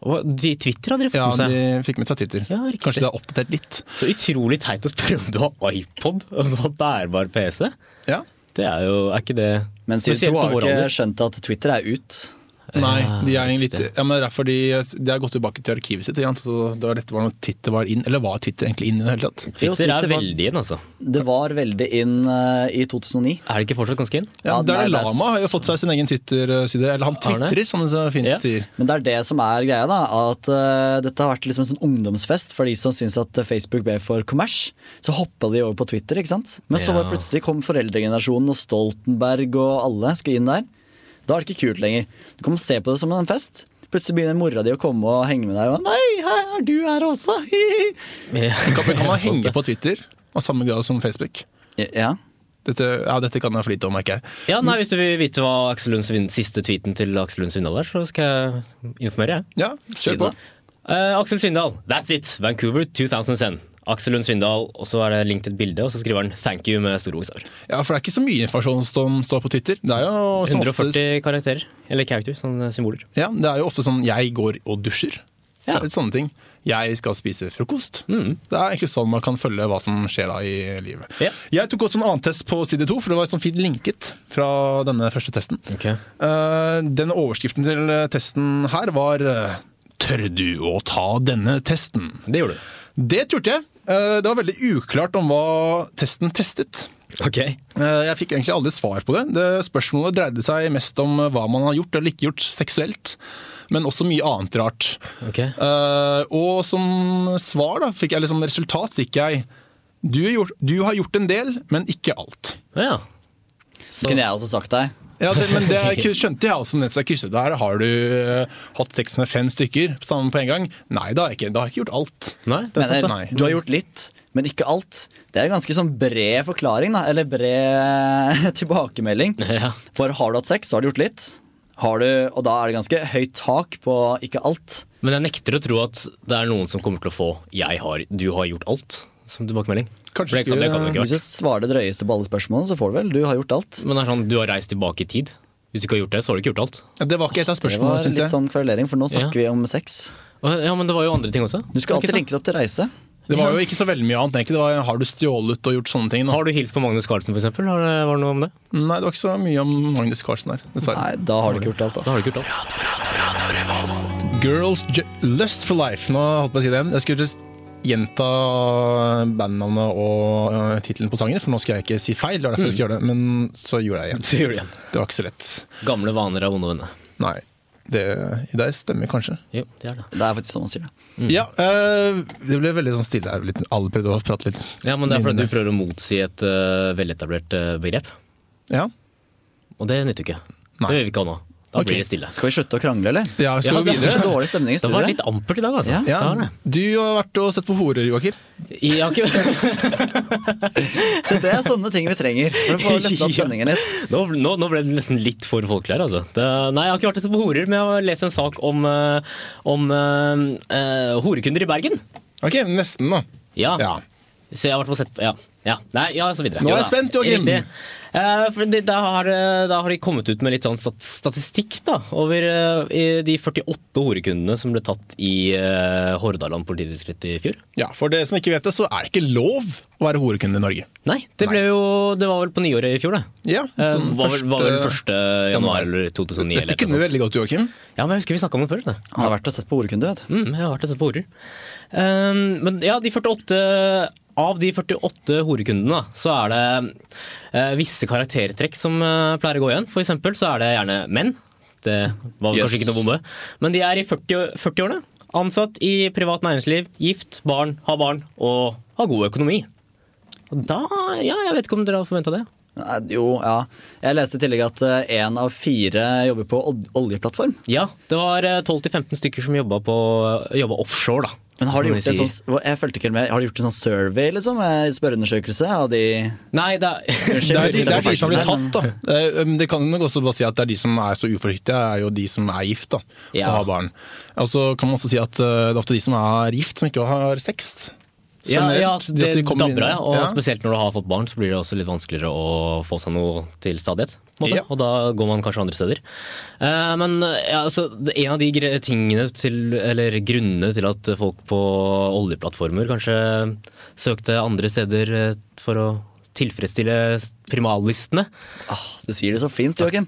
S3: Hva- de- Twitter hadde de fått
S2: Ja,
S3: med seg.
S2: de fikk med seg Twitter.
S3: Ja, riktig.
S2: Kanskje det er oppdatert litt.
S3: Så utrolig teit å spørre om du har iPod og du har bærbar PC.
S2: Ja.
S3: Det er jo Er ikke det
S4: Men side
S3: Spesielt
S4: to
S3: på
S4: har jo
S3: vår
S4: ikke
S3: alder.
S4: skjønt at Twitter er ut.
S2: Nei,
S3: Ja,
S2: de er egentlig
S3: riktig.
S2: litt ja, men det er derfor de, de har gått tilbake til arkivet sitt. Igjen, så det var dette var noe Twitter var inn, eller var Twitter egentlig inn i det hele tatt?
S4: Jo,
S3: Twitter er
S4: Twitter var-
S3: veldig inn, altså.
S4: Det var veldig inn eh, i 2009.
S3: Er det ikke fortsatt ganske inn?
S2: Ja,
S4: Ja,
S2: Dalai
S4: nei, det er
S2: Lama har jo fått seg sin egen Twitter-side. Eller han
S3: Har han det?
S2: twitrer, som det så fint
S3: Ja.
S2: sier.
S4: Men det er det som er greia, da. At eh, dette har vært liksom en sånn ungdomsfest for de som syns at eh, Facebook ble for kommers. Så hoppa de over på Twitter, ikke sant. Men så
S3: Ja.
S4: bare plutselig kom foreldregenerasjonen og Stoltenberg og alle skulle inn der. Da er det ikke kult lenger. Du kan se på det som en fest. Plutselig begynner mora di å komme og henge med deg. Og, 'Nei, her er du her også!'
S2: Kan, kan man henge på Twitter av samme grad som Facebook?
S4: ja.
S2: Dette, ja, dette kan jeg for lite om, merker jeg.
S3: Ja, nei, Hvis du vil vite hva Aksel Lunds vin- siste tweeten til Aksel Lund Svindal er, så skal jeg informere. jeg.
S2: Ja, kjør på.
S3: Eh, Aksel Svindal, that's it! Vancouver 2010. Aksel Lund Svindal, og så er det link til et bilde, og så skriver han 'thank you' med store bokstaver.
S2: Ja, For det er ikke så mye informasjon som står på Twitter. Det er jo som oftest,
S3: 140 karakterer, eller characters, sånne symboler.
S2: ja, det er jo ofte sånn 'jeg går og dusjer'. Det
S3: Ja. Mm.
S2: er litt sånne ting. Jeg skal spise frokost. Det er egentlig sånn man kan følge hva som skjer da i livet.
S3: Ja.
S2: Jeg tok også en annen test på side to, for det var et sånn fint linket fra denne første testen.
S3: Ok.
S2: Eh, den overskriften til testen her var eh, 'Tør du å ta denne testen?'
S3: Det gjorde du.
S2: Det turte jeg. Eh, det var veldig uklart om hva testen testet.
S3: Ok.
S2: Eh, Jeg fikk egentlig aldri svar på det. det. Spørsmålet dreide seg mest om eh, hva man har gjort eller ikke gjort seksuelt, men også mye annet rart.
S3: Ok.
S2: Eh, og som svar, da, fikk, eller som resultat, fikk jeg du har, gjort, du har gjort en del, men ikke alt.
S3: Ja.
S4: Kunne jeg også sagt deg.
S2: Ja, det, Men det ku- skjønte jeg også mens jeg krysset det her. Har du eh, hatt sex med fem stykker sammen på en gang? Nei, det har jeg ikke. Da har jeg ikke gjort alt.
S3: Nei, det er
S4: Mener,
S3: sant, da.
S2: Nei.
S4: Du har gjort litt, men ikke alt. Det er en ganske sånn bred forklaring, da. Eller bred tilbakemelding.
S3: Ja.
S4: For har du hatt sex, så har du gjort litt. Har du, og da er det ganske høyt tak på ikke alt.
S3: Men jeg nekter å tro at det er noen som kommer til å få 'jeg har, du har gjort alt' som tilbakemelding.
S2: Kanskje
S3: For det, kan, det kan det ikke
S4: Hvis du
S3: være.
S4: svarer det drøyeste på alle spørsmålene, så får du vel. Du har gjort alt.
S3: Men det er sånn, du har reist tilbake i tid. Hvis du ikke har gjort det, så har du ikke gjort alt.
S2: Ja, Det var ikke et av
S4: Det var
S2: spørsmålene, syns
S4: litt
S2: jeg.
S4: sånn kverulering, for nå snakker
S3: Ja.
S4: vi om sex.
S3: Og- Ja, Men det var jo andre ting også.
S4: Du skal
S3: Ikke
S4: alltid
S3: sant?
S4: linke det opp til reise.
S2: Det var jo ikke så veldig mye annet, egentlig. Det var, har du stjålet og gjort sånne ting?
S3: Har du hilst på Magnus Carlsen, f.eks.? eh, Var det noe om det?
S2: Nei, det var ikke så mye om Magnus Carlsen der, dessverre.
S4: Nei, da har du ikke gjort alt,
S3: Da har
S4: ass.
S3: du ikke gjort alt.
S2: Girls J Lust for Life. Nå holdt jeg på å si det igjen. Jeg skulle just gjenta bandnavnet og uh, tittelen på sangen, for nå skal jeg ikke si feil. Det var derfor jeg skulle gjøre det, men så gjorde jeg igjen.
S3: Mm. Så gjør du igjen.
S2: Det var ikke så lett.
S3: Gamle vaner er vonde å vende.
S2: Nei. Det i deg stemmer kanskje.
S3: Jo, det er det.
S4: Det er faktisk sånn man sier det.
S3: Mm.
S2: Ja, øh, det ble veldig sånn stille her. Litt, alle prøvde å prate litt.
S3: Ja, men det er fordi
S2: Minnene.
S3: du prøver å motsi et eh, veletablert eh, begrep.
S2: Ja.
S3: Og det nytter jo ikke.
S2: Nei.
S3: Det gjør vi ikke ha nå. Da
S2: Ok.
S3: blir det stille.
S4: Skal vi slutte å krangle, eller?
S2: ja skal
S3: Ja,
S2: vi
S4: Det er så
S2: videre?
S4: dårlig stemning i
S3: Det var
S4: studio.
S3: litt ampert i dag, altså.
S4: Ja.
S3: Det
S2: Ja,
S3: var det.
S2: du har vært og sett på horer, Joakim.
S3: Jeg har ikke...
S4: Så det er sånne ting vi trenger for å få løftet opp
S3: Ja.
S4: stemningen litt.
S3: Nå, nå, nå ble det nesten litt for folkelig her, altså. Det, nei, jeg har ikke vært ute på horer, men jeg har lest en sak om, eh, om eh, eh, horekunder i Bergen.
S2: Ok, nesten, da.
S3: Ja.
S2: Ja.
S3: Så jeg har vært på sett Ja. ja. Nei, ja, så videre.
S2: Nå er jeg
S3: Jo da.
S2: spent, Joakim.
S3: Riktig. Eh, for det- da, har, eh, da har de kommet ut med litt sånn stat statistikk da, over eh, i de 48 horekundene som ble tatt i eh, Hordaland politidistrikt i fjor.
S2: Ja, For dere som ikke vet det, så er det ikke lov å være horekunde i Norge.
S3: Nei, det ble jo Det var vel på nyåret i fjor, det.
S2: Ja,
S3: Eh,
S2: sånn
S3: var, vel- var vel
S2: første-
S3: 1. januar eller 2009. eller
S2: Dette kunne
S3: noe
S2: du
S3: sånt.
S2: veldig godt, Joakim.
S3: Ja, men jeg husker vi snakka om det før. Da.
S4: Han har vært og sett på ordkunde, vet du.
S3: Mm, jeg har vært og sett på horer. Um, men ja, de 48, av de 48 horekundene, da, så er det eh, visse karaktertrekk som eh, pleier å gå igjen. For eksempel så er det gjerne menn. Det var vel
S4: Yes.
S3: kanskje ikke noe bombe. Men de er i 40 40-årene. ansatt i privat næringsliv, gift, barn, har barn og har god økonomi. Og da Ja, jeg vet ikke om dere har forventa det.
S4: Nei, Jo, ja. Jeg leste i tillegg at én av fire jobber på ol- oljeplattform.
S3: Ja, det var eh, 12-15 stykker som jobba på- jobba offshore, da.
S4: Men har de
S3: Som
S4: gjort
S3: vi
S4: en
S3: sier.
S4: sånn, jeg følte ikke helt med, har de gjort en sånn survey, liksom? en Spørreundersøkelse av de
S3: Nei, det er
S2: Det er, de, det er de som blir
S4: Faktisk,
S2: tatt, da. Eh, um, Det kan nok også bare si at det er de som er så uforsiktige, er jo de som er gift da,
S3: Ja.
S2: og har barn. Og så kan man også si at eh, det er ofte de som er gift, som ikke har sex.
S3: Ja, ja,
S2: Generelt,
S3: det
S2: at de kommer inn-
S3: dabber av, ja. Og
S2: Ja.
S3: spesielt når du har fått barn, så blir det også litt vanskeligere å få seg noe til stadighet. på en måte.
S2: Ja.
S3: Og da går man kanskje andre steder. Eh, men eh, ja, altså, det- en av de gre- tingene til, eller grunnene til at folk på oljeplattformer kanskje søkte andre steder eh, for å tilfredsstille primalistene,
S4: ah, Du sier det så fint, Joakim.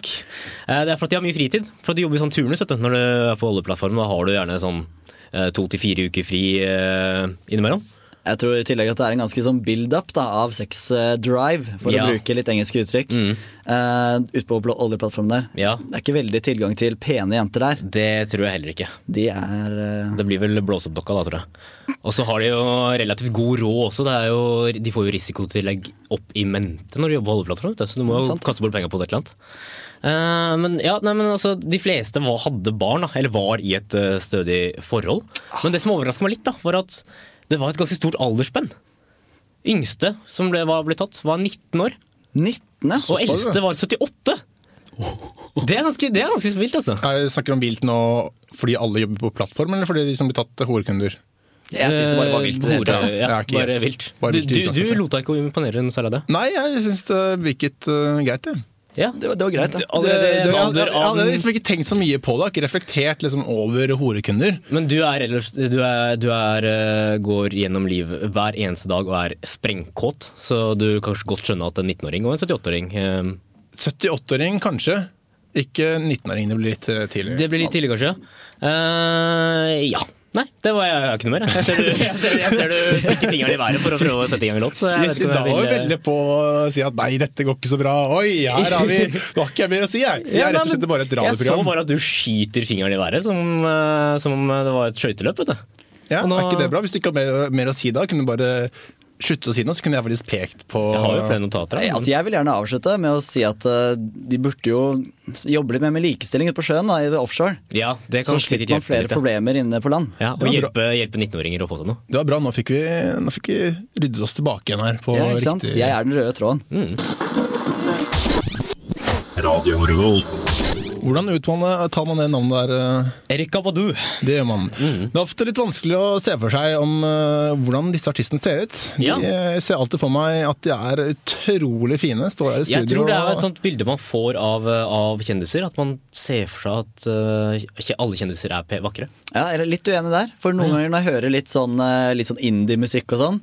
S3: Eh, Det er for at de har mye fritid. For at de jobber i sånn turnus vet du. når du er på oljeplattformen. Da har du gjerne sånn eh, to til fire uker fri eh, innimellom.
S4: Jeg tror i tillegg at det er en ganske sånn build-up da, av sex eh, drive, for
S3: Ja. Mm.
S4: å bruke litt engelske uttrykk, eh, ute på pl- oljeplattformen der.
S3: Ja.
S4: Det er ikke veldig tilgang til pene jenter der.
S3: Det tror jeg heller ikke.
S4: De er eh,
S3: Det blir vel blåseoppdokka da, tror jeg. Og så har de jo relativt god råd også. Det er jo, de får jo risikotillegg opp i mente når de jobber på oljeplattform, vet du, så du må jo
S4: Sant.
S3: kaste bort penger på det et eller annet. Eh, men ja, nei, men altså, de fleste var, hadde barn, da, eller var i et eh, stødig forhold. Men det som overraska meg litt, da, var at det var et ganske stort aldersspenn. Yngste som ble, var, ble tatt, var 19 år,
S4: 19.
S3: og eldste var 78! Det er ganske, det er ganske vilt, altså.
S2: Er, snakker du om vilt nå fordi alle jobber på plattform, eller fordi de som blir tatt, er horekunder?
S4: Jeg syns det bare var vilt. i det hele
S3: Hore,
S4: tatt.
S3: ja,
S2: Det er ikke
S3: bare
S2: greit.
S3: vilt.
S2: Bare
S3: Du,
S2: vilt i
S3: du, du
S2: utgangspunktet.
S3: lot deg ikke imponere noe særlig av det.
S2: Nei, jeg syns det virket eh, greit, jeg.
S3: Ja.
S4: Det, var- det var greit, da.
S3: Allerede i
S2: Det-
S3: en
S2: det-
S3: alder
S2: jeg
S3: av
S2: hadde liksom ikke tenkt så mye på det, jeg har ikke reflektert liksom, over horekunder.
S3: Men du er ellers Du, er, du er, eh, går gjennom livet hver eneste dag og er sprengkåt, så du kan kanskje godt skjønne at en 19-åring og en 78-åring eh,
S2: 78-åring kanskje, ikke 19-åring. Det blir litt eh, tidligere.
S3: Det blir litt tidlig, kanskje. Eh, ja. Nei, det var jeg, jeg har ikke noe mer. Jeg Jeg ser du, jeg ser, jeg ser du stikker fingeren i været for å prøve å sette i gang en låt. Så jeg vet
S2: Yes,
S3: ikke om
S2: da
S3: jeg
S2: var vi
S3: vil- eh,
S2: veldig på å si at nei, dette går ikke så bra. Oi, her har vi Nå har ikke jeg mer å si, jeg. Vi
S3: Ja,
S2: er rett
S3: nei,
S2: og slett
S3: men
S2: bare et
S3: Jeg så
S2: radioprogram.
S3: bare at du skyter fingeren i været som, eh, som om det var et skøyteløp. vet du.
S2: Ja,
S3: og nå-
S2: er ikke det bra? Hvis du ikke har mer, mer å si da, kunne du bare slutte å si noe, så kunne jeg faktisk pekt på
S3: Jeg har jo flere notater. her,
S4: Nei,
S3: men-
S4: altså jeg vil gjerne avslutte med å si at eh, de burde jo jobbe litt mer med likestilling ute på sjøen, da, i offshore.
S3: ja, det
S4: Så
S3: kan
S4: slipper
S3: sikkert
S4: man
S3: hjelpe
S4: flere
S3: litt. ja.
S4: problemer inne på land.
S3: Ja, og
S2: var
S3: hjelpe, hjelpe 19-åringer å få sånn, seg noe.
S2: Det var bra, nå fikk vi, nå fikk vi ryddet oss tilbake igjen her. På
S4: Ja, ikke sant?
S2: riktig
S4: Jeg er den røde tråden.
S3: Mm.
S2: Hvordan utmanne, tar man det navnet der? eh?
S3: Erika Badu.
S2: Det gjør man.
S3: Mm.
S2: Det er ofte litt vanskelig å se for seg om eh, hvordan disse artistene ser ut. De
S3: Ja.
S2: eh, ser alltid for meg at de er utrolig fine. Står her i
S3: Jeg
S2: studio
S3: tror det er jo
S2: og-
S3: et sånt bilde man får av, eh, av kjendiser. At man ser for seg at eh, ikke alle kjendiser er pe- vakre.
S4: Ja, jeg er litt uenig der. For
S3: Mm.
S4: noen ganger når jeg hører litt sånn, eh, litt sånn indie-musikk og sånn,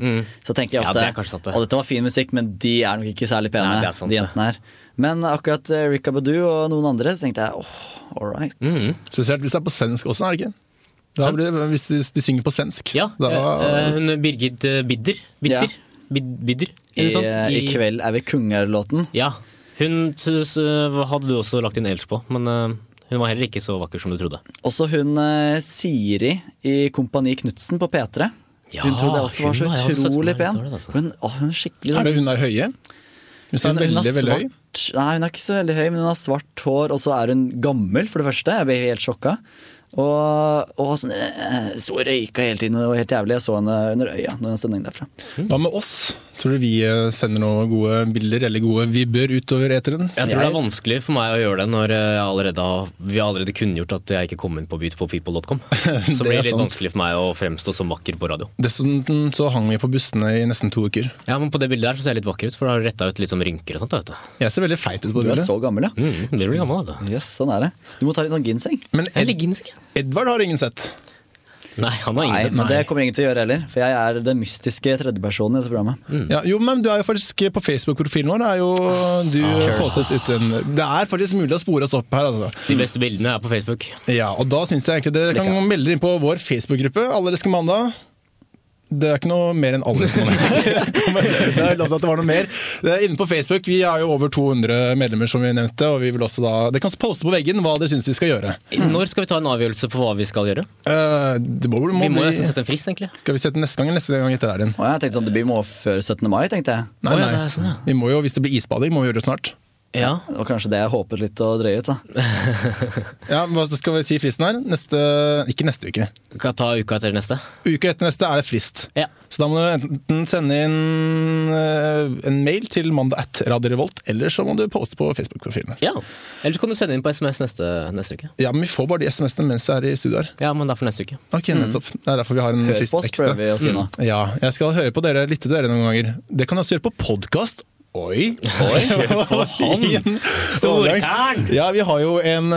S4: så tenker jeg
S3: Ja,
S4: ofte
S3: det er kanskje sant, det.
S4: Å, dette var fin musikk, men de er nok ikke særlig pene,
S3: Nei, det er sant,
S4: de
S3: det.
S4: jentene her. Men akkurat eh, Ricka Badu og noen andre, så tenkte jeg åh, all right.
S3: Mm.
S2: Spesielt hvis det er på svensk også, er det ikke? Da blir det, hvis de, de synger på svensk.
S3: Ja,
S2: da,
S3: eh, eh, hun Birgit eh, Bidder.
S4: Ja.
S3: Bidder? Bid, bidder?
S4: I,
S3: Eller sånt?
S4: eh, I kveld er vi kongerlåten.
S3: Ja. Hun synes, eh, hadde du også lagt inn ellers på, men eh, hun var heller ikke så vakker som du trodde.
S4: Også hun eh, Siri i Kompani Knutsen på P3.
S3: Ja,
S4: hun trodde jeg også var
S3: hun har
S4: så
S3: jeg også sett for
S4: utrolig
S3: meg
S4: pen.
S3: litt dårlig, altså.
S4: Hun, å, hun er skikkelig
S2: er
S4: sånn
S2: det hun der høye? Hvis hun er
S4: hun
S2: veldig,
S4: har
S2: veldig høy.
S4: svart Nei, hun er ikke så veldig høy, men hun har svart hår, og så er hun gammel, for det første. Jeg ble helt sjokka. Og, og sånn eh, Sto og røyka hele tiden, og helt jævlig. Jeg så henne under øya når en sending derfra.
S2: Hva med oss? Tror du vi eh, sender noen gode bilder eller gode vibber utover eteren?
S3: Jeg tror det
S4: Jeg-
S3: er vanskelig for meg å gjøre det når eh, jeg allerede har, vi har allerede kunngjort at jeg ikke kom inn på beautifulpeople.com. Så
S2: Det
S3: blir
S2: er
S3: det litt
S2: sant.
S3: vanskelig for meg å fremstå som vakker på radio.
S2: Dessuten så hang vi på bussene i nesten to uker.
S3: Ja, men På det bildet der så ser jeg litt vakker ut, for da har du retta ut litt sånn rynker og sånt. da, vet
S2: Jeg ser veldig feit ut på
S4: Du er
S2: bildet.
S4: så gammel, ja.
S3: du. Mm, blir du gammel, da.
S4: Jøss, sånn er det. Du må ta litt sånn ginseng.
S2: Men
S3: Jeg
S2: Ed
S3: legger inn ikke.
S2: Edvard har ingen sett.
S3: Nei, han har
S4: Nei,
S3: ingenting.
S4: men det kommer ingen til å gjøre heller, for jeg er den mystiske tredjepersonen i dette programmet.
S3: Mm.
S2: Ja, jo, men du er jo faktisk på Facebook-profilen vår. Det er jo
S3: Ah,
S2: du postet ut en Det er faktisk mulig å spore oss opp her, altså.
S3: De beste bildene er på Facebook.
S2: Ja, og da syns jeg egentlig dere kan melde dere inn på vår Facebook-gruppe. Alle elsker mandag. Det er ikke noe mer enn aldersmåling. Men det er lovt at det var noe mer. Det er Inne på Facebook, vi er jo over 200 medlemmer, som vi nevnte. og vi vil også da... Dere kan poste på veggen hva dere syns vi skal gjøre.
S3: Mm. Når skal vi ta en avgjørelse på hva vi skal gjøre?
S2: Eh, det må, må
S3: Vi må
S2: bli-
S3: nesten sette en frist, egentlig.
S2: Skal vi sette neste gang eller neste gang etter der igjen?
S4: Og jeg tenkte sånn, Det blir må før 17. mai, tenkte jeg.
S2: Nei,
S3: Å, ja,
S2: nei.
S3: det er sånn, ja.
S2: Vi må jo, Hvis det blir isbading, må vi gjøre det snart.
S3: Ja.
S4: Og kanskje det jeg håpet litt å drøye ut. da
S2: Ja, Hva skal vi si fristen her? Neste, ikke neste uke.
S3: Vi kan ta uka etter neste.
S2: Uka etter neste er det frist.
S3: Ja.
S2: Så da må du enten sende inn eh, en mail til mandag at Radio Revolt, eller så må du poste på Facebook-profilen.
S3: ja. Eller så kan du sende inn på SMS neste, neste uke.
S2: Ja, men vi får bare de SMS-ene mens vi er i studio her.
S3: Ja, men det er for neste uke.
S2: Ok, nettopp. Det er derfor vi har en
S4: Mm. Hør
S2: frist
S4: på oss,
S2: ekstra. Mm.
S4: prøver vi å si nå.
S2: Ja, jeg skal høre på dere, lytte til dere noen ganger. Det kan jeg også gjøre på podkast. Oi, oi, han!
S3: Storkaren!
S2: Ja, vi har jo en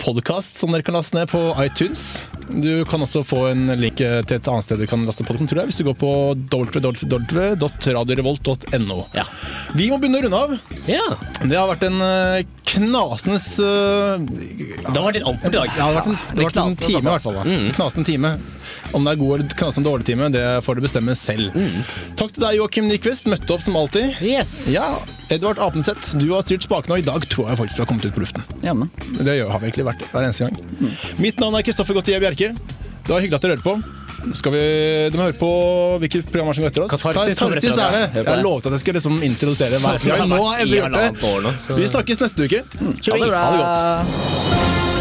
S2: podkast som dere kan laste ned på iTunes. Du kan også få en link eh, til et annet sted du kan laste podkasten, tror jeg, hvis du går på www.radiorevolt.no.
S3: Ja.
S2: Vi må begynne å runde av.
S3: Ja.
S2: Det har vært en eh, knasende eh,
S3: Det har vært litt amper i dag.
S2: ja, det har vært en, det har vært en
S4: knasende
S2: time i hvert fall. Da. Knasende time. Om det er god eller knasende dårlig time, det får du bestemme selv. Takk til deg, Joakim Nyquist. Møtte opp som alltid.
S3: Yes.
S2: Ja, Edvard Apenseth, du har styrt spakene, og i dag tror jeg faktisk du har kommet ut på luften.
S4: Jammen.
S2: Det gjør- har vi egentlig vært hver eneste gang. Mitt navn er Kristoffer Gottier Bjerke. Det var hyggelig at dere hørte på. Skal vi, du må høre på hvilket program er som går etter oss.
S3: Katarsis kommer
S2: Katarsis
S3: etter oss.
S2: er det.
S4: på det.
S2: Jeg lovte at jeg skulle liksom introdusere hver
S3: Så vi har
S2: gang. Nå har jeg endelig
S3: vært i
S2: gjort
S3: halvannet år nå,
S2: det.
S3: så-
S2: Vi snakkes neste uke.
S4: Mm. Ha det bra.
S2: Ha det godt.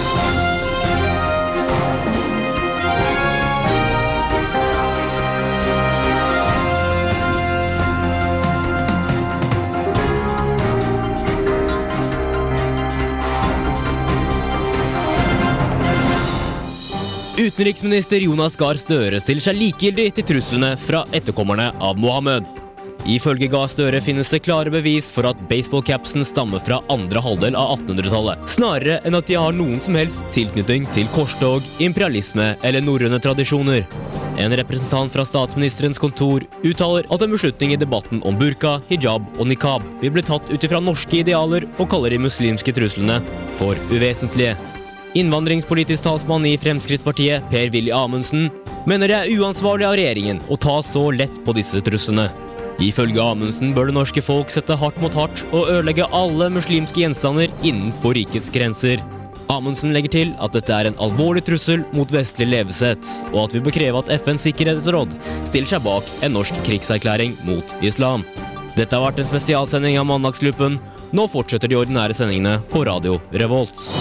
S3: Utenriksminister Jonas Gahr Støre stiller seg likegyldig til truslene fra etterkommerne av Mohammed. Ifølge Gahr Støre finnes det klare bevis for at baseballcapsen stammer fra andre halvdel av 1800-tallet, snarere enn at de har noen som helst tilknytning til korstog, imperialisme eller norrøne tradisjoner. En representant fra statsministerens kontor uttaler at en beslutning i debatten om burka, hijab og nikab vil bli tatt ut ifra norske idealer og kaller de muslimske truslene for uvesentlige. Innvandringspolitisk talsmann i Fremskrittspartiet, Per-Willy Amundsen, mener det er uansvarlig av regjeringen å ta så lett på disse truslene. Ifølge Amundsen bør det norske folk sette hardt mot hardt og ødelegge alle muslimske gjenstander innenfor rikets grenser. Amundsen legger til at dette er en alvorlig trussel mot vestlig levesett, og at vi bør kreve at FNs sikkerhetsråd stiller seg bak en norsk krigserklæring mot islam. Dette har vært en spesialsending av Mandagslupen. Nå fortsetter de ordinære sendingene på Radio Revolt.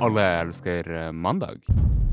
S5: Alle elsker eh, mandag.